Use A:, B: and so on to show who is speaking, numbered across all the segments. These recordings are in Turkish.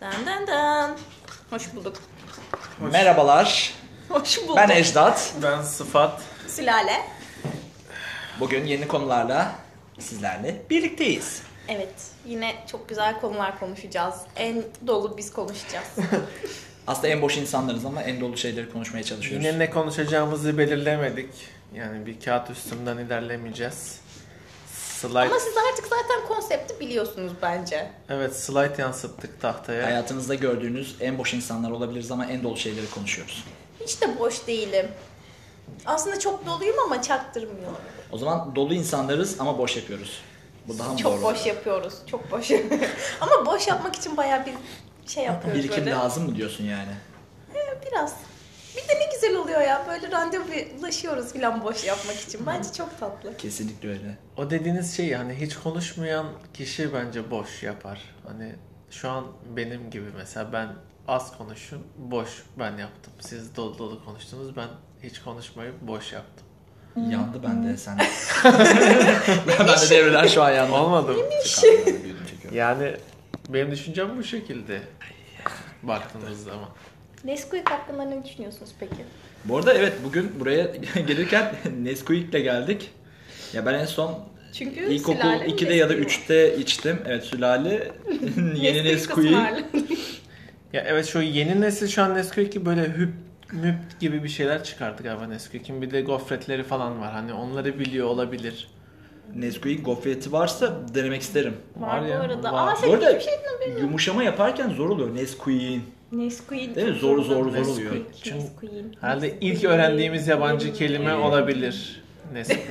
A: Dan dan dan. Hoş bulduk.
B: Merhabalar.
A: Hoş bulduk.
B: Ben Ejdat.
C: Ben sıfat.
A: Sülale.
B: Bugün yeni konularla sizlerle birlikteyiz.
A: Evet. Yine çok güzel konular konuşacağız. En dolu biz konuşacağız.
B: Aslında en boş insanlarız ama en dolu şeyleri konuşmaya çalışıyoruz.
C: Yine ne konuşacağımızı belirlemedik. Yani bir kağıt üstünden ilerlemeyeceğiz. Slide,
A: Ama siz artık zaten konsepti biliyorsunuz bence.
C: evet slide yansıttık tahtaya.
B: Hayatınızda gördüğünüz en boş insanlar olabiliriz ama en dolu şeyleri konuşuyoruz.
A: Hiç de boş değilim. Aslında çok doluyum ama çaktırmıyorum.
B: O zaman dolu insanlarız ama boş yapıyoruz. Bu daha mı
A: çok
B: doğru?
A: boş yapıyoruz. Çok boş. ama boş yapmak için bayağı bir şey yapıyoruz
B: Birikim
A: böyle.
B: lazım mı diyorsun yani?
A: Ee, Biraz. Bir de ne güzel oluyor ya. Böyle randevulaşıyoruz falan boş yapmak için. Bence çok tatlı.
B: Kesinlikle öyle.
C: O dediğiniz şey yani hiç konuşmayan kişi bence boş yapar. Hani şu an benim gibi mesela ben az konuşun boş ben yaptım. Siz dolu dolu konuştunuz ben hiç konuşmayıp boş yaptım.
A: Hmm.
B: Yandı bende sen. ben de devreler şu an yandı.
C: Olmadı mı?
B: Çıkardım, büyüdüm, çekiyorum.
C: Yani benim düşüncem bu şekilde. Baktığınız zaman.
A: Nesquik hakkında ne düşünüyorsunuz peki?
B: Bu arada evet bugün buraya gelirken Nesquik'le geldik. Ya ben en son
A: Çünkü
B: İlkokul
A: sülalenin
B: 2'de ya da
A: Nesquik'i var.
B: 3'te içtim. Evet sülale
A: Nesquik
B: yeni Nesquik.
A: ısmarlı.
C: Ya evet şu yeni nesil şu an Nesquik'i böyle hüp müp gibi bir şeyler çıkardı galiba Nesquik'in. Bir de gofretleri falan var. Hani onları biliyor olabilir.
B: Nesquik gofreti varsa denemek isterim.
A: Var,
C: Var ya,
A: bu arada.
C: var.
A: Aa şey, sen
B: Bu arada-
A: hiçbir şeyden bilmiyorsun.
B: Yumuşama yaparken zor oluyor Nesquik'in.
A: Nesquik.
B: Değil mi? Zor, zor, zor
A: Nesquik,
B: oluyor.
C: Çünkü
A: Nesquik,
C: Herhalde ilk
A: Nesquik.
C: öğrendiğimiz yabancı kelime olabilir. Nesquik.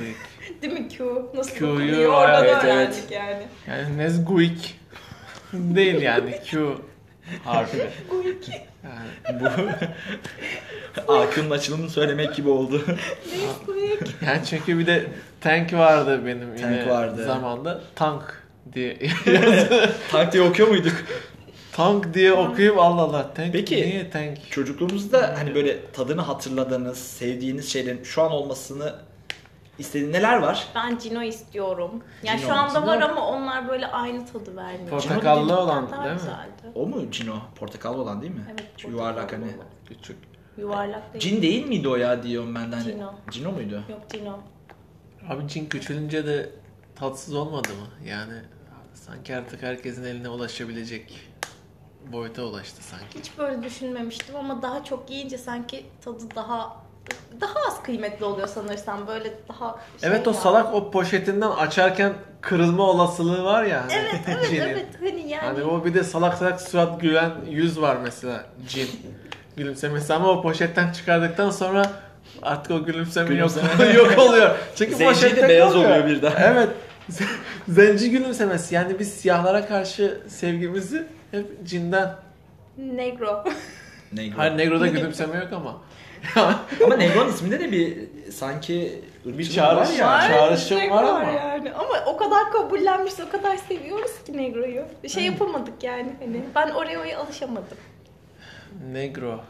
A: Değil mi Q? Nasıl
C: Q'yu,
A: okunuyor? Oradan
C: evet,
A: öğrendik
C: evet.
A: yani.
C: Yani Nesquik değil yani Q harfi. Yani
B: Bu Akın'ın açılımını söylemek gibi oldu.
A: Nesquik.
C: Yani çünkü bir de tank vardı benim yine
B: Tank vardı.
C: zamanda. Tank diye.
B: Tank diye okuyor muyduk?
C: tank diye okuyup Allah Allah. Tank
B: Peki.
C: niye tank?
B: Çocukluğumuzda hani böyle tadını hatırladığınız, sevdiğiniz şeylerin şu an olmasını istediğin neler var?
A: Ben Cino istiyorum. Yani
B: Cino.
A: şu anda var
B: Cino.
A: ama onlar böyle aynı tadı vermiyor.
C: Portakallı
A: Cino
C: olan,
A: daha
C: değil mi?
A: güzeldi.
B: O mu Cino? Portakallı olan değil mi?
A: Evet,
B: Şu yuvarlak
A: portakallı
B: hani.
A: olan.
C: Küçük.
A: Yuvarlak değil.
B: Cin değil miydi o ya diyorum ben de hani.
A: Cino.
B: Cino muydu?
A: Yok Cino.
C: Abi cin küçülünce de tatsız olmadı mı? Yani sanki artık herkesin eline ulaşabilecek boyuta ulaştı sanki.
A: Hiç böyle düşünmemiştim ama daha çok yiyince sanki tadı daha daha az kıymetli oluyor sanırsam. Böyle daha şey
C: evet o
A: ya.
C: salak o poşetinden açarken kırılma olasılığı var ya. Hani
A: Evet evet
C: cinin.
A: evet hani yani.
C: Hani o bir de salak salak surat gülen yüz var mesela cin. Gülümsemesi ama o poşetten çıkardıktan sonra artık o gülümseme yok,
B: Gülümseme.
C: yok oluyor. Çünkü
B: Zenci de
C: poşette
B: beyaz
C: kalıyor.
B: oluyor birden.
C: Evet. Zenci gülümsemesi. Yani biz siyahlara karşı sevgimizi hep cinden.
A: Negro.
B: Negro.
C: Hayır Negro'da gülümseme yok ama.
B: Ama Negron isminde de bir sanki
C: Bir
B: ırkçılık
C: çağrış
B: var
C: var.
B: yani.
C: Çağrışım
A: Negro
C: var ama.
A: Yani. Ama o kadar kabullenmiş, o kadar seviyoruz ki Negro'yu. Şey yapamadık yani hani. Ben Oreo'ya alışamadım.
C: Negro.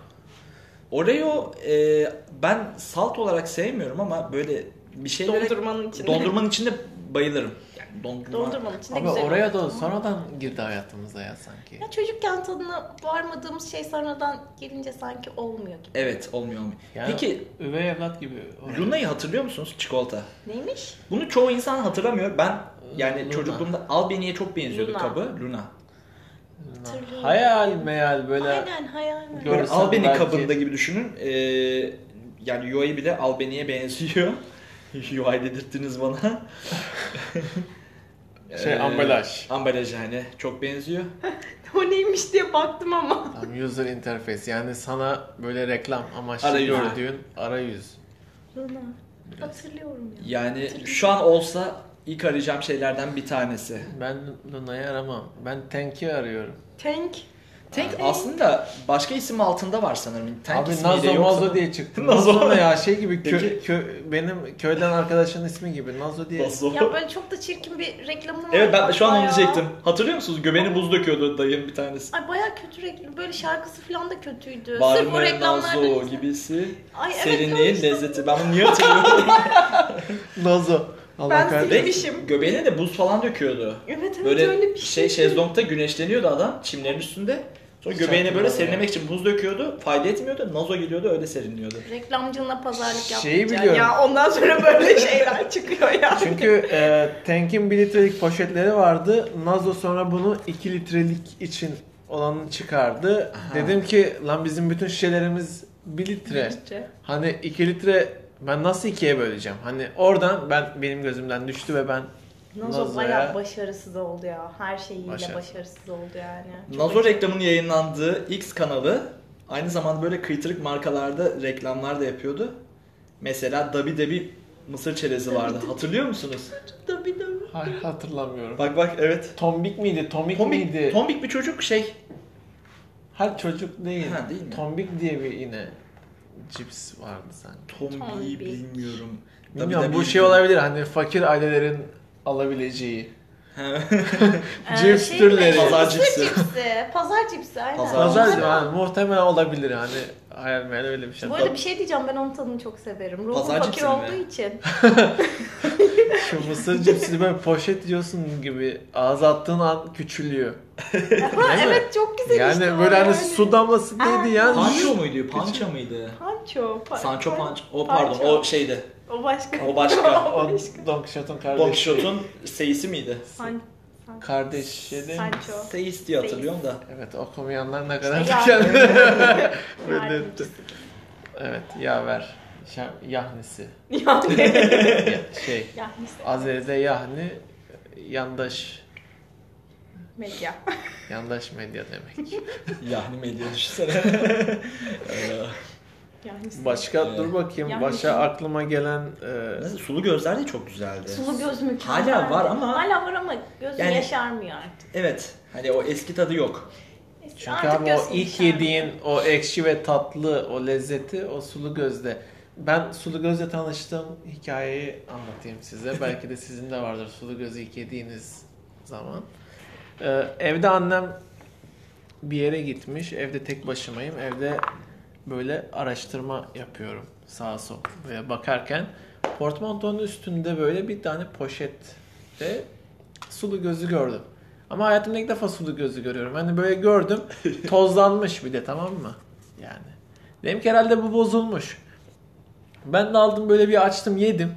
B: Oreo e, ben salt olarak sevmiyorum ama böyle bir şeylere
A: Dondurmanın içinde.
B: dondurmanın içinde bayılırım. Yani dondurma.
A: Dondurmanın içinde
C: Abi
A: güzel
C: oraya
A: oluyor.
C: da sonradan girdi hayatımıza ya sanki.
A: Ya çocukken tadına varmadığımız şey sonradan gelince sanki olmuyor gibi.
B: Evet olmuyor olmuyor.
C: Yani
B: Peki
C: üvey evlat gibi. oraya.
B: Luna'yı hatırlıyor musunuz? Çikolata.
A: Neymiş?
B: Bunu çoğu insan hatırlamıyor. Ben yani
C: Luna.
B: çocukluğumda Albany'ye çok benziyordu
A: Luna.
B: kabı. Luna.
A: Hatırlıyorum.
C: Hayal meyal böyle.
A: Aynen hayal mi?
C: Gör-
B: Böyle
C: Görsel
B: Albany
C: belki.
B: kabında gibi düşünün. E, yani UI bile Albany'ye benziyor. UI dedirttiniz bana.
C: Şey,
B: Ee,
C: ambalaj.
B: Ambalaj yani çok benziyor.
A: O neymiş diye baktım ama.
C: Tam user interface yani sana böyle reklam amaçlı
B: Arayüz.
C: gördüğün arayüz.
A: Luna. Hatırlıyorum ya.
B: Yani şu an olsa ilk arayacağım şeylerden bir tanesi.
C: Ben Luna'yı aramam. Ben Tank'i arıyorum.
A: Tank.
B: Tank
A: Tank.
B: aslında başka isim altında var sanırım. Tank
C: Abi
B: ismiyle
C: Nazo
B: yoksa-
C: Mazo diye çıktı.
B: Nazo.
C: Nazo ne ya şey gibi kö,
B: Peki.
C: kö- benim köyden arkadaşının ismi gibi Nazo diye.
B: Nazo.
A: Ya böyle çok da çirkin bir reklamı var.
B: Evet ben şu an onu
A: bayağı.
B: diyecektim. Hatırlıyor musunuz? Göbeğini buz döküyordu dayım bir tanesi.
A: Ay baya kötü reklam. Böyle şarkısı falan da kötüydü. Sırf o
B: Barmer Nazo
A: reklamlarda.
B: gibisi.
A: Ay evet,
B: Serinliğin
A: görmüştüm.
B: lezzeti. Ben bunu niye hatırlıyorum?
C: Nazo.
A: Ben
C: Allah
A: sil-
C: kahretsin.
B: Ve
A: Demişim.
B: göbeğine de buz falan döküyordu.
A: Evet evet
B: Böyle
A: öyle bir şey.
B: şey şezlongta güneşleniyordu adam çimlerin üstünde. Sonra
C: Sıcak
B: göbeğine böyle
C: kumral
B: serinlemek için buz döküyordu. Fayda etmiyordu. Nazo geliyordu öyle serinliyordu.
A: Reklamcına pazarlık
C: Şeyi
A: yapmayacak
C: biliyorum.
A: ya. Ondan sonra böyle şeyler çıkıyor ya.
C: Çünkü e, Tank'in 1 litrelik poşetleri vardı. Nazo sonra bunu 2 litrelik için olanını çıkardı. Dedim ki lan bizim bütün şişelerimiz 1 litre. Hani 2 litre ben nasıl ikiye böleceğim? Hani oradan ben benim gözümden düştü ve ben
A: Nazo
C: Nazo'ya-
A: bayağı başarısız oldu ya. Her şeyiyle
C: Başarı.
A: başarısız oldu yani. Çok
B: Nazo
A: acı.
B: reklamının yayınlandığı X kanalı aynı zamanda böyle kıytırık markalarda reklamlar da yapıyordu. Mesela Dabi Dabi mısır çerezi vardı. Hatırlıyor musunuz?
A: Tabii tabii.
C: hayır hatırlamıyorum.
B: Bak bak evet.
C: Tombik miydi? Tomik, miydi?
B: Tombik, tombik bir çocuk şey.
C: Her çocuk değil.
B: Ha, değil mi?
C: Tombik diye bir yine cips vardı sanki.
B: Tombi'yi
A: Tombik.
B: bilmiyorum. Dabi
C: Bilmiyorum
B: Dabi
C: bu şey
B: bilmiyorum.
C: olabilir hani fakir ailelerin alabileceği.
A: Ee,
C: Cips
A: şey mi?
C: türleri.
B: Pazar
A: Mısır
B: cipsi.
A: cipsi. Pazar cipsi aynen.
B: Pazar
C: Pazar
B: Olabilir.
C: yani muhtemelen olabilir hani hayal meyal öyle bir şey.
A: Bu arada bir şey diyeceğim ben onun tadını çok severim. Ruhum
B: Pazar
A: fakir
B: cipsi mi?
A: olduğu için.
C: Şu mısır cipsini böyle poşet yiyorsun gibi ağza attığın an küçülüyor.
A: Ha,
C: Değil mi?
A: evet çok güzel işte.
C: Yani böyle hani
A: öyle.
C: su damlası değdi yani.
B: Pancho muydu? Pança mıydı?
A: Pancho. pa-
B: Sancho
A: pa-
B: Pancho. O pardon
A: Pancho.
B: o şeydi.
A: O başka.
B: O başka.
C: O Don Quixote'un
B: Don
C: kardeşi.
B: Quixote'un seyisi miydi?
A: Pan-
C: Kardeşi değil mi?
A: Pancho.
B: Seyis diye hatırlıyorum da.
C: Evet okumayanlar ne kadar
A: İşte
C: tükendi.
A: Yardımcısı.
C: evet yaver. Şa- Yahnisi.
A: Yani.
C: Ya- şey.
A: ya neyse.
C: Azeri'de yahni yandaş.
A: Medya.
C: Yandaş medya demek.
B: Yahni medya düşünsene. Ee,
A: Yani.
C: Başka
B: Ee,
C: dur bakayım.
A: Yahni.
C: Başa aklıma gelen e,
B: Mesela sulu gözler de çok güzeldi.
A: Sulu göz mü?
B: Hala var ama-
A: Hala var ama gözün
B: Yani-
A: yaşarmıyor artık.
B: Evet. Hani o eski tadı yok.
A: Neyse,
C: Çünkü
A: artık
C: abi o
A: gözün
C: ilk
A: yaşarmıyor.
C: yediğin o ekşi ve tatlı o lezzeti o sulu gözde. Ben sulu gözle tanıştığım hikayeyi anlatayım size. Belki de sizin de vardır sulu gözü ilk yediğiniz zaman. Ee, evde annem bir yere gitmiş. Evde tek başımayım. Evde böyle araştırma yapıyorum sağa sola böyle bakarken. Portmantonun üstünde böyle bir tane poşette sulu gözü gördüm. Ama hayatımda ilk defa sulu gözü görüyorum. Hani böyle gördüm tozlanmış bir de tamam mı? Yani. Dedim ki herhalde bu bozulmuş. Ben de aldım böyle bir açtım yedim.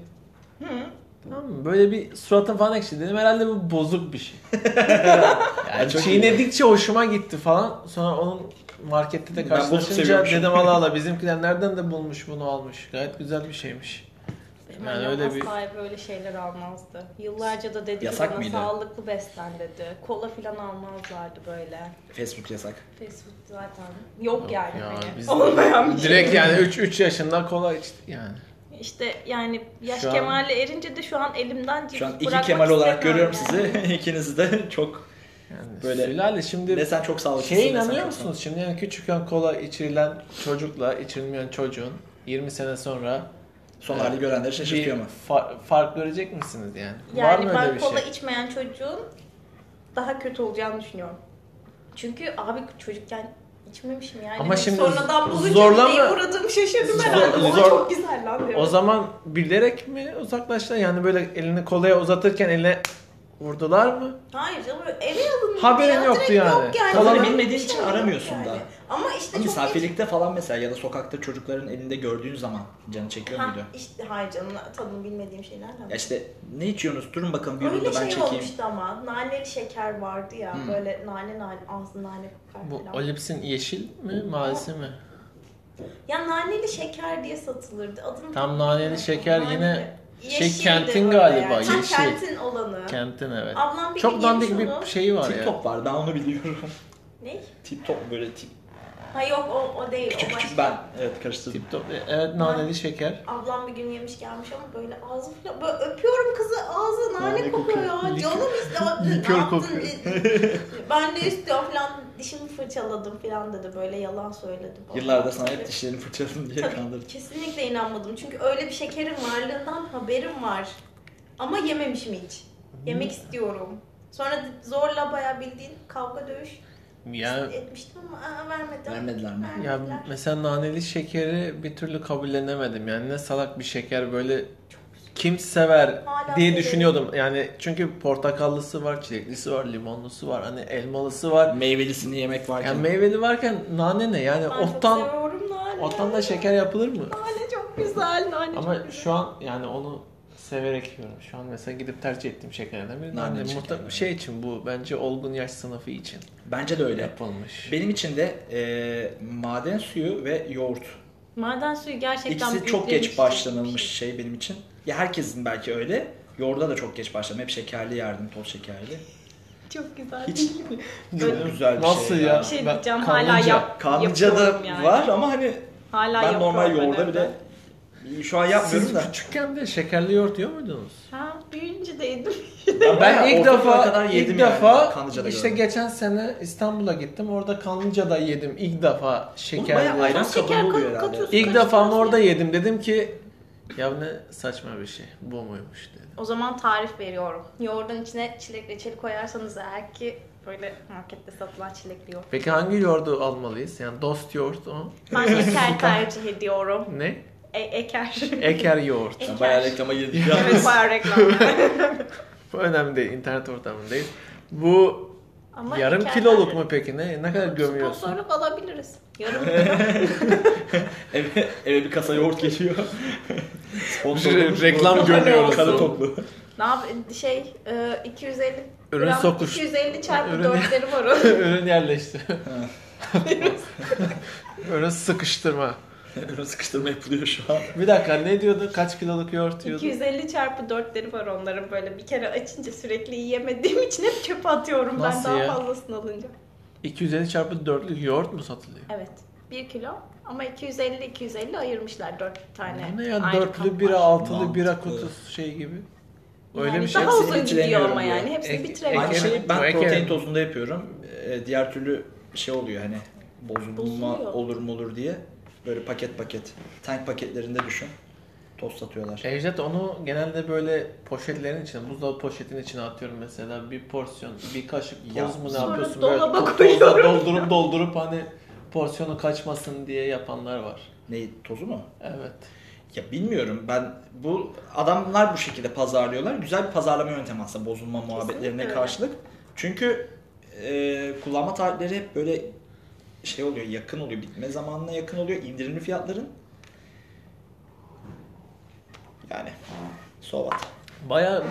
C: Tamam mı? Böyle bir suratım falan ekşidi. Dedim herhalde bu bozuk bir şey. yani
B: Çok iyi.
C: çiğnedikçe hoşuma gitti falan. Sonra onun markette de
B: Ben bozuk
C: karşılaşınca
B: seviyormuşum.
C: dedim ala ala bizimkiler nereden de bulmuş bunu almış. Gayet güzel bir şeymiş.
A: Benim
C: Yani
A: annem
C: öyle bir-
A: asla böyle şeyler almazdı. Yıllarca da dedi
B: Yasak
A: ki bana
B: mıydı?
A: sağlıklı beslen dedi. Kola filan almazlardı böyle.
B: Facebook yasak.
A: Fast food zaten yok,
C: Yok
A: yani.
C: ya,
A: hani.
C: biz-
A: Olmayan bir şey.
C: Direkt yani 3 3 yaşında kola içti yani.
A: İşte yani yaş
C: Şu an-
A: kemale erince de şu an elimden cips
B: Şu an iki
A: bırakmak
B: Kemal olarak
A: istemiyorum
B: görüyorum
A: yani.
B: sizi. İkiniz de çok
C: Yani
B: Böyle-
C: sülale şimdi
B: ne sen çok sağlıklısın.
C: Şeye
B: ne sen
C: inanıyor
B: çok
C: musunuz? Şimdi yani küçükken kola içirilen çocukla içilmeyen çocuğun 20 sene sonra
B: sağlıklısın. Son hali görenleri şaşırtıyor
C: Ee, bir
B: mu?
C: fa- fark görecek misiniz yani? Var
A: Yani
C: mı
A: ben
C: öyle bir
A: kola
C: şey?
A: içmeyen çocuğun daha kötü olacağını düşünüyorum. Çünkü abi çocukken içmemişim yani.
C: Ama
A: Hani
C: şimdi
A: sonradan bulunca
C: zorlama-
A: neye uğradığımı şaşırdım
B: Zor-
A: herhalde. Ama
C: zor-
A: çok güzel lan diyorum.
C: O zaman bilerek mi uzaklaştılar? Yani böyle elini kolaya uzatırken eline vurdular mı?
A: Hayır canım eve yazılmış.
C: Haberin
A: ya,
C: yoktu
A: direkt
C: yani.
A: Yok yani.
B: Kolanı
A: Direkt
B: bilmediğin
A: bir
B: için
A: şey yok
B: aramıyorsun
A: yani.
B: da.
A: Ama işte
B: Ama
A: çok geç-
B: Misafirlikte falan mesela ya da sokakta çocukların elinde gördüğün zaman canı çekiyor
A: Ha,
B: muydu?
A: işte, hayır canım tadını bilmediğim şeylerden.
B: Ya işte ne içiyorsunuz? Durun bakalım bir
A: Öyle
B: yudum da
A: şey
B: ben çekeyim.
A: olmuştu ama naneli şeker vardı ya
B: Hmm.
A: böyle nane nane ağzı nane kokar
C: Bu
A: falan.
C: Olips'in yeşil mi, mavisi mi?
A: Ya naneli şeker diye satılırdı. Adını
C: Tam naneli şeker
A: Naneli.
C: yine şey,
A: Yeşildi
C: kentin
A: öyle
C: galiba,
A: yani. Ha,
C: yeşil.
A: kentin olanı.
C: Kentin evet.
A: Ablam bir
C: Çok
A: gün
C: dandik
A: yemiş
C: bir şey.
A: onu.
C: şeyi var
B: Tip
C: ya.
B: top var ben onu biliyorum.
A: Ne?
B: tip top böyle tip.
A: Ha yok o, o değil. o
B: Küçük
A: başka.
B: küçük ben. Evet karıştırdım.
C: Tip top. Evet naneli şeker.
A: Ablam bir gün yemiş gelmiş ama böyle ağzı falan böyle öpüyorum kızı ağzı nane,
B: Nane
A: kokuyor,
B: kokuyor.
A: ya
C: Likör-
A: canım işte ne
C: Likör
A: yaptın
C: kokuyor.
A: ben de istiyorum falan dişimi fırçaladım falan dedi böyle yalan söyledi bana.
B: Yıllarda sana hep dişlerini fırçaladım diye
A: Tabii,
B: kandırdım.
A: Kesinlikle inanmadım çünkü öyle bir şekerin varlığından haberim var ama yememişim hiç yemek istiyorum. Sonra zorla bayağı bildiğin kavga dövüş
C: Ya
A: etmiştim ama aa, vermedi.
B: Vermediler mi?
A: Vermediler.
C: Ya mesela naneli şekeri bir türlü kabullenemedim. Yani ne salak bir şeker böyle
A: Çok güzel.
C: kim sever
A: Hala
C: diye
A: severim.
C: düşünüyordum. Yani çünkü portakallısı var, çileklisi var, limonlusu var, hani elmalısı var.
B: Meyvelisini yemek varken.
C: Yani meyveli varken nane ne? Yani
A: Ben çok
C: ottan
A: seviyorum nane.
C: ottan da şeker yapılır mı?
A: Nane çok güzel. Nane çok
C: Ama
A: güzel.
C: şu an yani onu severek yiyorum. Şu an mesela gidip tercih ettiğim şekerlerden biri
B: Nane
C: nane.
B: şekeri,
C: Muhtem-
B: evet.
C: şey için bu bence olgun yaş sınıfı için
B: Bence de öyle.
C: yapılmış.
B: Benim için de e, maden suyu ve yoğurt.
A: Maden suyu gerçekten
B: İkisi çok
A: büyüklerin
B: geç
A: içtiği bir
B: başlanılmış
A: şey.
B: şey benim için. Ya herkesin belki öyle. Yoğurda da çok geç başladım. Hep şekerli yerdim, toz şekerli.
A: Çok güzel.
B: Hiç-
A: değil mi?
B: Çok güzel bir şey.
C: Nasıl ya?
A: Bir şey
C: Ben
A: diyeceğim hala
C: kanlıca-
A: yap.
B: Kanlıca'da
A: yapıyorum yani.
B: var ama hani
A: Hala
B: ben normal
A: yapıyorum
B: yoğurda
A: ben
B: bile
A: evde.
B: şu an yapmıyorum
C: Siz
B: da.
C: küçükken de şekerli yoğurt yiyor muydunuz?
A: Ha büyüyünce de yedim.
B: Ya
C: Ben ilk
B: ortaokula
C: defa
B: kadar yedim
C: ilk
B: yani.
C: defa
B: Kanlıca'da
C: işte
B: gördüm.
C: geçen sene İstanbul'a gittim. Orada Kanlıca'da yedim ilk defa
B: Oğlum bayağı
C: şekerli.
B: ayran
A: Şeker
B: kabuğu oluyor
A: kat-
B: herhalde.
A: katıyorsun.
C: İlk defa orada yedim. Dedim ki ya ne saçma bir şey. Bu muymuş dedim.
A: O zaman tarif veriyorum. Yoğurdun içine çilek reçeli koyarsanız eğer ki böyle markette satılan çilekli yoğurt.
C: Peki hangi yoğurdu almalıyız? Yani dost yoğurt o.
A: Ben eker tercih ediyorum.
C: Ne?
A: E- eker.
C: Eker yoğurt.
A: Eker.
B: Ya bayağı reklama girdik
A: evet
B: yalnız.
A: bayağı reklam.
C: Bu önemli değil. İnternet ortamındayız. Bu
A: Ama
C: yarım
A: eker
C: kiloluk
A: tercih-
C: mu peki? Ne, ne kadar gömüyorsun?
A: Sponsorluk alabiliriz. Yarım kilo.
B: eve, eve bir kasa yoğurt geliyor. Sponsor
C: Re-
B: olmuş bu.
C: reklam
A: görmüyoruz.
B: Karı toplu.
A: ne yap şey e, 250
C: Ürün
A: gram-
C: sokuş.
A: 250 çarpı
C: Ürün-
A: dörtleri var o.
C: Ürün yerleşti. Ürün sıkıştırma.
B: Ürün sıkıştırma yapılıyor şu an.
C: Bir dakika ne diyordu? Kaç kiloluk yoğurt diyordu?
A: 250 çarpı dörtleri var onların böyle bir kere açınca sürekli yiyemediğim için hep çöpe atıyorum
C: Nasıl
A: ben daha
C: ya?
A: fazlasını alınca.
C: 250 çarpı 4'lük yoğurt mu satılıyor?
A: Evet. 1 kilo ama 250 250 ayırmışlar 4 tane.
C: Bu ne ya?
A: Ayrı
C: Dörtlü
A: kap
C: bira,
A: var.
C: altılı bira
B: Mantıklı.
C: kutusu şey gibi.
A: Yani
C: Öyle bir şey.
A: Daha
B: Hepsini
A: uzun gidiyor
B: bitiremiyorum
A: ama
B: diyor.
A: yani. Hepsini
C: Ek- şey-
A: bitiremiyorum.
B: Aynı
C: Ekerim,
B: şeyi ben
C: bu ekerim.
B: protein tozunda yapıyorum. Ee, diğer türlü şey oluyor hani bozulma
A: Bozuluyor.
B: olur mu olur diye. Böyle paket paket. Tank paketlerinde düşün. Toz satıyorlar.
C: Ejder onu genelde böyle poşetlerin içine, buzdolabı poşetinin içine atıyorum mesela. Bir porsiyon, bir kaşık
B: Ya.
C: toz mu ne
A: Sonra
C: yapıyorsun?
A: dolaba
C: tozla
A: koyuyorum.
C: doldurup doldurup hani porsiyonu kaçmasın diye yapanlar var.
B: Neyi tozu mu?
C: Evet.
B: Ya bilmiyorum ben bu adamlar bu şekilde pazarlıyorlar. Güzel bir pazarlama yöntemi aslında bozulma muhabbetlerine
A: öyle.
B: karşılık. Çünkü e, kullanma tarihleri hep böyle şey oluyor yakın oluyor bitme zamanına yakın oluyor indirimli fiyatların. Yani so what?
C: Baya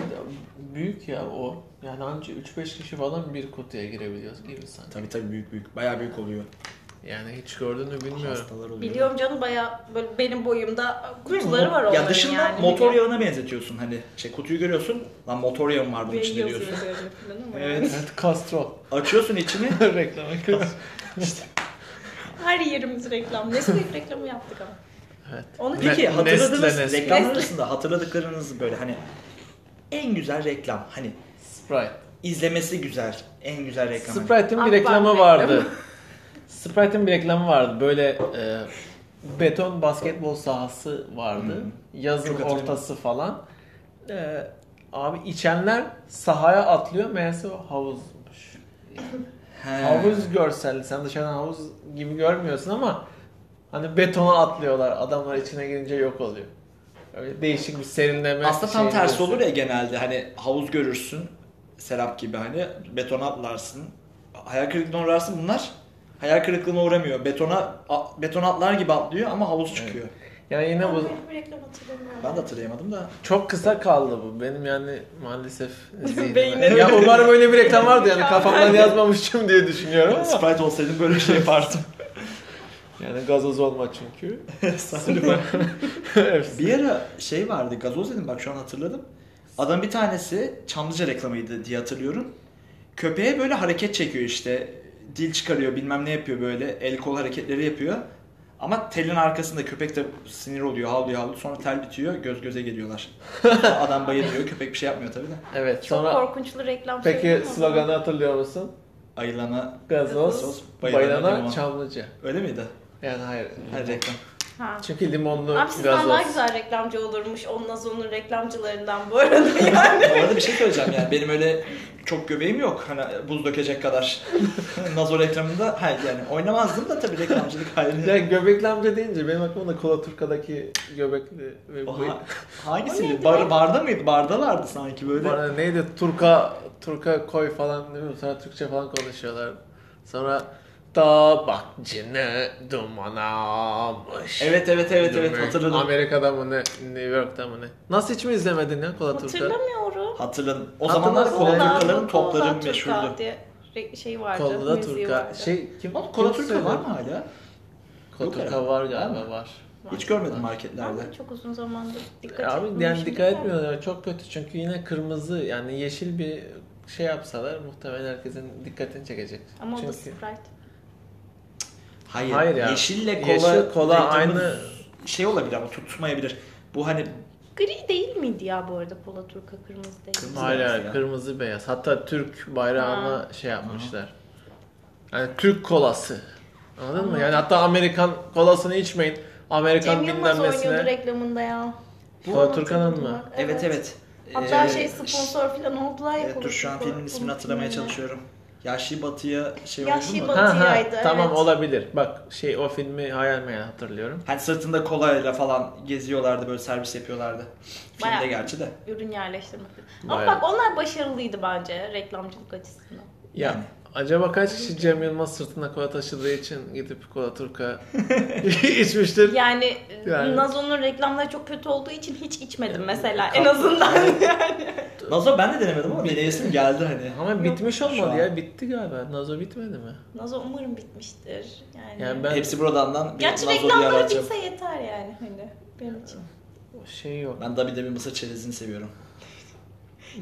C: büyük ya o. Yani anca 3-5 kişi falan bir kutuya girebiliyoruz gibi sanki.
B: Tabii tabii büyük büyük. Bayağı büyük oluyor.
C: Yani hiç gördüğünü bilmiyorum.
B: Hastalar oluyor.
A: Biliyorum canım baya böyle benim boyumda kutuları var onların
B: Ya dışında
A: yani.
B: motor yağına benzetiyorsun hani. Şey kutuyu görüyorsun. Lan motor yağı mı var bunun
A: Beyin
B: içinde
A: yazıyor
B: diyorsun.
A: üzerinde falan ama yani.
B: Evet.
C: Evet, Castro.
B: Açıyorsun içini.
C: Reklama kız.
A: Her yerimiz reklam. Nesne reklamı yaptık ama.
C: Evet.
A: Onu
C: Ne-
B: Peki hatırladığınız
C: Nestle, Nestle.
B: reklam
A: Nestle.
B: arasında hatırladıklarınız böyle hani en güzel reklam hani
C: Sprite.
B: izlemesi güzel en güzel reklam. Hani
C: Sprite'ın bir
A: Akbank
C: reklamı
A: reklamı.
C: vardı. Sprite'ın bir reklamı vardı. Böyle e, beton basketbol sahası vardı.
B: Hı.
C: Yazın
B: Çok hatırlıyorum.
C: ortası falan. E, abi içenler sahaya atlıyor. Meğerse o havuzmuş.
B: He.
C: Havuz görselli. Sen dışarıdan havuz gibi görmüyorsun ama hani betona atlıyorlar. Adamlar içine girince yok oluyor. Öyle değişik bir serinleme.
B: Aslında tam
C: şeyi
B: tersi
C: görüyorsun.
B: olur ya genelde hani havuz görürsün Serap gibi hani betona atlarsın hayal kırıklığına uğrarsın bunlar hayal kırıklığına uğramıyor betona a- betona atlar gibi atlıyor ama havuz çıkıyor.
C: Yani yine bu
A: Böyle bir reklam hatırlamıyorum.
B: Ben de hatırlayamadım da
C: Çok kısa kaldı bu. Benim yani maalesef zihnime.
A: Beynine-
C: ya umarım öyle bir reklam vardı yani kafamdan yazmamışım diye düşünüyorum ama.
B: Sprite olsaydım böyle bir şey yapardım.
C: Yani gazoz olma çünkü.
B: Sanırım.
C: Hepsi.
B: Bir ara şey vardı gazoz dedim bak şu an hatırladım. Adam bir tanesi Çamlıca reklamıydı diye hatırlıyorum. Köpeğe böyle hareket çekiyor işte. Dil çıkarıyor bilmem ne yapıyor böyle el kol hareketleri yapıyor. Ama telin arkasında köpek de sinir oluyor havlıyor havlıyor sonra tel bitiyor göz göze geliyorlar. Sonra Adam bayılıyor köpek bir şey yapmıyor tabii de.
C: evet
A: Çok
C: sonra
A: korkunçlu reklam
C: peki
A: söyledim ama-
C: sloganı hatırlıyor musun?
B: Ayılana
C: Gazoz,
B: Gazoz, bayılana
C: bayılana
B: limon.
C: çamlıca.
B: öyle miydi?
C: Yani hayır.
B: Her reklam.
A: Ha.
C: Çünkü limonlu
A: Abi sizden daha
C: gazoz.
A: güzel reklamcı olurmuş. O Nazo'nun reklamcılarından bu arada yani.
B: Bu arada bir şey söyleyeceğim yani benim öyle çok göbeğim yok hani buz dökecek kadar. Nazo reklamında hayır yani oynamazdım da tabii reklamcılık
C: Ya
B: hayali.
C: göbekli amca deyince benim aklıma da Kola Turka'daki göbekli ve bu
B: Oha,
A: O neydi
B: hangisiydi? Bar,
A: o?
B: barda mıydı? Bardalardı sanki böyle.
C: Bana neydi Turka Turka koy falan değil mi? Sonra Türkçe falan konuşuyorlar. Sonra tabakçını dumanamış.
B: Evet evet evet evet hatırladım.
C: Amerika'da mı ne? New York'ta mı ne? Nasıl hiç mi izlemedin ya Kola Turka?
A: Hatırlamıyorum.
B: Hatırladım. O
C: Hatırlarsın,
B: zamanlar kola
C: evet.
B: turkaların topları
A: Kolda Turka
B: meşhurdu.
A: diye re- şey vardı.
C: Kola
A: müziği
C: Turka.
A: vardı.
C: Şey kim?
B: Oğlum kola
C: kim
B: turka var
C: söylüyor?
B: mı hala?
C: Kola
B: Yok
C: Turka
B: herhalde.
C: var
B: Var
C: galiba var.
B: Hiç görmedim marketlerde.
A: Ama çok uzun zamandır dikkat şey
C: Abi yani
A: etmemişim.
C: dikkat etmiyorlar çok kötü çünkü yine kırmızı yani yeşil bir şey yapsalar muhtemelen herkesin dikkatini çekecek.
A: Ama o da
C: çünkü...
A: Sprite.
B: Hayır.
C: Hayır ya.
B: Yeşille kola,
C: Yeşil kola
B: reklamı
C: aynı-
B: şey olabilir ama tutmayabilir. Bu hani
A: Gri değil miydi ya bu arada Kola Turka kırmızı değil.
B: Kırmızı.
C: Hayır
B: beyaz
C: hayır,
B: ya.
C: kırmızı beyaz. Hatta Türk bayrağına şey yapmışlar. Yani Türk kolası. Anladın mı? Yani hatta Amerikan kolasını içmeyin. Amerikan
A: Cem Yılmaz
C: bilmem
A: oynuyordu
C: nesine.
A: reklamında ya.
C: Bu
A: Şu an
C: Turkan'ın mı?
A: hatırladım bak,
B: evet evet.
A: Hatta
B: Ee,
A: şey sponsor falan oldular ya.
B: Evet, dur
A: Kola
B: şu an
A: Turka.
B: filmin ismini hatırlamaya
A: Unuttum
B: çalışıyorum. Yaşlı Batı'ya şey
A: Yaşlı
B: oldu mu?
A: Batı. Batı'yaydı,
C: tamam
A: evet.
C: olabilir. Bak şey o filmi hayal meyal hatırlıyorum.
B: Hani sırtında kolayla falan geziyorlardı böyle servis yapıyorlardı.
A: Bayağı.
B: Filmde gerçi de.
A: ya. Ürün yerleştirmek. Ama
C: Bayağı.
A: bak onlar başarılıydı bence reklamcılık açısından.
C: Ya acaba kaç kişi Cem Yılmaz sırtında kola taşıdığı için gidip kola Turka içmiştir?
A: Yani, e,
C: Yani.
A: Nazo'nun reklamları çok kötü olduğu için hiç içmedim mesela
C: kap-
A: en azından.
B: Nazo ben de denemedim ama deneyesim geldi hani.
C: Ama bitmiş
B: Şu
C: olmadı
B: an.
C: ya. Bitti galiba. Nazo bitmedi mi?
A: Nazo umarım bitmiştir. Yani.
C: Yani ben
B: Hepsi buradandan bir
A: Gerçi
B: Nazo diye
A: reklamları
B: arayacağım.
A: bitse yeter yani hani benim için.
C: şey yok.
B: Ben Dabi Debi Mısır çerezini seviyorum.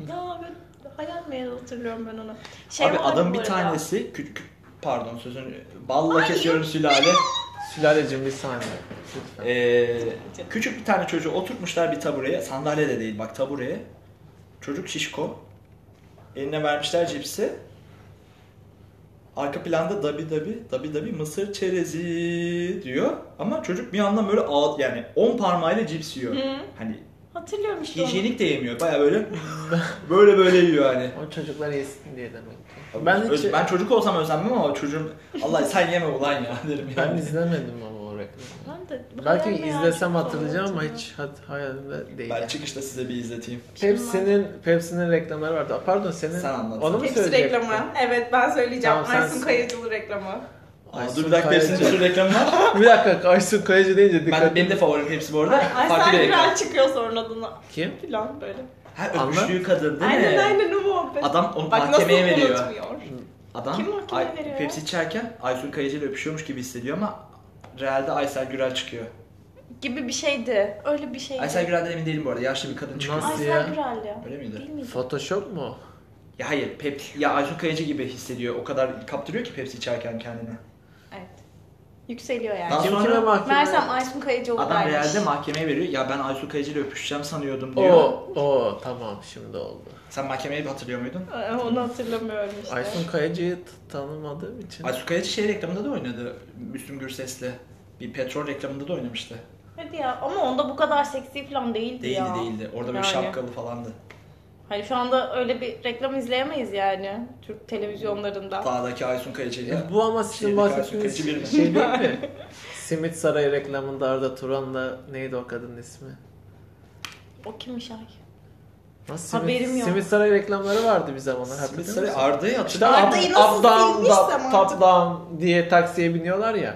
A: Ya ben hayal meyal hatırlıyorum ben onu. Şey
B: Ee, Abi
A: vardı
B: adam
A: bu
B: bir
A: arada.
B: tanesi küçük pardon sözünü balla kesiyorum sülale.
C: Sülalecim bir saniye. Lütfen.
B: Ee, küçük bir tane çocuğu oturtmuşlar bir tabureye. Sandalye de değil bak tabureye. Çocuk şişko. Eline vermişler cipsi. Arka planda dabi dabi dabi dabi mısır çerezi diyor. Ama çocuk bir yandan böyle ağ, yani 10 parmağıyla cips yiyor.
A: Hı.
B: Hani
A: Hatırlıyorum işte onu.
B: hijyenik de yemiyor. Baya böyle böyle böyle yiyor hani.
C: O çocuklar yesin diye demek
B: Ben,
C: ki. Ben hiç
B: ben çocuk olsam özenmem ama çocuğun Allah sen yeme ulan ya derim
C: ben
B: yani.
C: izlemedim ama o reklamı.
A: Ben de
C: Belki
A: hayal meyal
C: izlesem
A: çok zor
C: hatırlayacağım ama
A: hatırlıyorum.
C: hiç hat- hayalimde değil.
B: Ben çıkışta size bir izleteyim.
C: Pepsi'nin Pepsi'nin reklamları vardı. Aa, Pardon senin
B: Sen anlat.
C: onu mu
A: Hepsi
C: söyleyecektin?
A: reklamı. Evet ben söyleyeceğim.
C: Tamam, sen-
A: Aysun Kayıcılı reklamı.
B: Aa,
C: Aysun
B: dur bir dakika hepsinin
C: Kayacı.
B: bir sürü reklamı var.
C: bir dakika Aysun Kayacı deyince dikkat
B: Ben, benim de favorim hepsi bu arada.
A: Aysun
B: Farklı bir
A: Kral
B: ekran.
A: çıkıyor sonra adına.
C: Kim?
A: Plan böyle.
B: Ha
C: Anla.
B: öpüştüğü kadın değil
A: aynen
B: mi?
A: aynen o muhabbet.
B: Adam onu
A: Bak nasıl
B: mahkemeye veriyor.
A: unutmuyor.
B: Adam
A: Kim mahkemeye veriyor?
B: Pepsi içerken Aysun Kayıcı ile öpüşüyormuş gibi hissediyor ama realde Aysel Gürel çıkıyor.
A: Gibi bir şeydi. Öyle bir şeydi.
B: Aysel Gürel'den emin değilim bu arada. Yaşlı bir kadın çıkıyor.
C: Nasıl?
A: Aysel
C: ya?
A: Gürel ya.
B: Öyle miydi?
A: Değil miydi?
C: Photoshop mu? o?
B: Ya hayır, Pep ya Aysun Kayıcı gibi hissediyor. O kadar kaptırıyor ki Pepsi içerken kendini.
A: Evet. Yükseliyor yani.
B: Daha
C: Kim
B: sonra
C: kime mahkeme?
A: Mersem Aysun Kayıcı
B: adam
A: oradaymış.
B: realde mahkemeye veriyor. Ya ben Aysun Kayıcı ile öpüşeceğim sanıyordum
C: O,
B: diyor.
C: o tamam şimdi oldu.
B: Sen mahkemeyi hatırlıyor muydun?
A: Ee, Onu hatırlamıyorum işte.
C: Aysun Kayacı'yı t- tanımadığım için.
B: Aysun Kayıcı şey reklamında da oynadı. Müslüm Gürses'le. Bir petrol reklamında da oynamıştı.
A: Hadi ya ama onda bu kadar seksi falan değildi,
B: Değildi
A: ya.
B: değildi. Orada böyle
A: Yani.
B: şapkalı falandı.
A: Hani şu anda öyle bir reklam izleyemeyiz yani Türk televizyonlarında.
B: Dağdaki Aysun Kayıcı'yla.
C: E, bu ama sizin
B: Şeyde
C: bahsettiğiniz
B: karşı kaçı
C: şey değil mi? Simit Saray reklamında Arda Turan'la neydi o kadının ismi?
A: O kimmiş ay?
C: Nasıl simit,
A: Haberim yok.
C: Simit Saray reklamları vardı bir zamanlar.
B: Simit
C: hatırlıyor
B: Sarı
C: musun?
B: Arda'yı
C: İşte
B: hatırlıyor
A: Arda'yı
B: musun?
A: nasıl
C: up, up down,
A: silmişsem
C: up,
A: artık.
C: top down diye taksiye biniyorlar ya.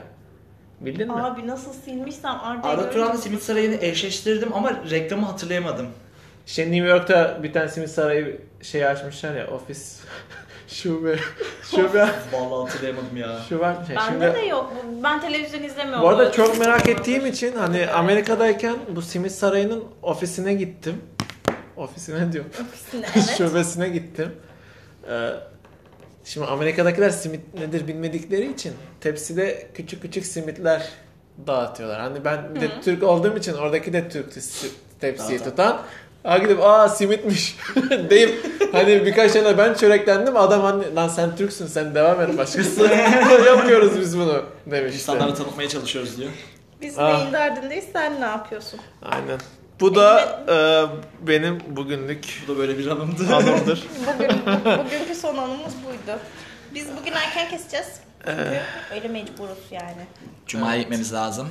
C: Bildin mi?
A: Abi nasıl silmişsem Arda'yı
B: Arda
A: görünce-
B: Turan'la Simit Sarayı'nı eşleştirdim ama reklamı hatırlayamadım.
C: İşte New York'ta bir tane Simit Sarayı şey açmışlar ya ofis şube şube
B: Vallahi hatırlayamadım ya.
C: şube şey,
A: Bende
C: şimdi-
A: de yok. bu- Ben televizyon izlemiyorum.
C: Bu arada
A: Öyle
C: çok
A: bir
C: merak
A: şey
C: ettiğim
A: olmaz.
C: için hani Amerika'dayken bu Simit Sarayı'nın ofisine gittim. Ofisine diyorum.
A: Ofisinde, evet.
C: Şubesine gittim. Ee, şimdi Amerika'dakiler simit nedir bilmedikleri için tepside küçük küçük simitler dağıtıyorlar. Hani ben bir de Türk olduğum için oradaki de Türk si- tepsiyi
B: Dağıtan.
C: tutan. Ha gidip aa simitmiş deyip hani birkaç tane ben çöreklendim adam hani lan sen Türksün sen devam et başkası yapıyoruz biz bunu demişti.
B: İnsanları tanıtmaya çalışıyoruz diyor.
A: Biz
C: Ah.
A: neyin derdindeyiz sen ne yapıyorsun?
C: Aynen. Bu da e, benim bugünlük
B: Bu da böyle bir anımdı.
C: anımdır.
A: Bugün, bu- bugünkü son anımız buydu. Biz bugün erken keseceğiz.
C: E,
A: Çünkü öyle mecburuz yani.
B: Cuma'ya gitmemiz lazım.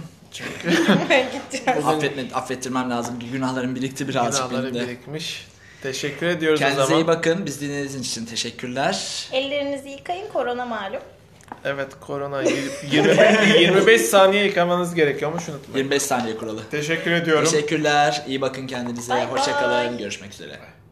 A: Ben gideceğim.
B: Affetme, affettirmem lazım. Günahlarım birikti birazcık
C: Kiraları
B: benim de.
C: birikmiş. Teşekkür ediyoruz o
B: Kendinize
C: zaman.
B: iyi bakın. Biz dinlediğiniz için teşekkürler.
A: Ellerinizi yıkayın korona malum.
C: Evet korona yirmi- yirmi- 25 saniye yıkamanız gerekiyormuş unutmayın.
B: 25 saniye kuralı.
C: Teşekkür ediyorum.
B: Teşekkürler. İyi bakın kendinize.
A: Bye
B: Hoşça
A: bye.
B: kalın. Görüşmek üzere.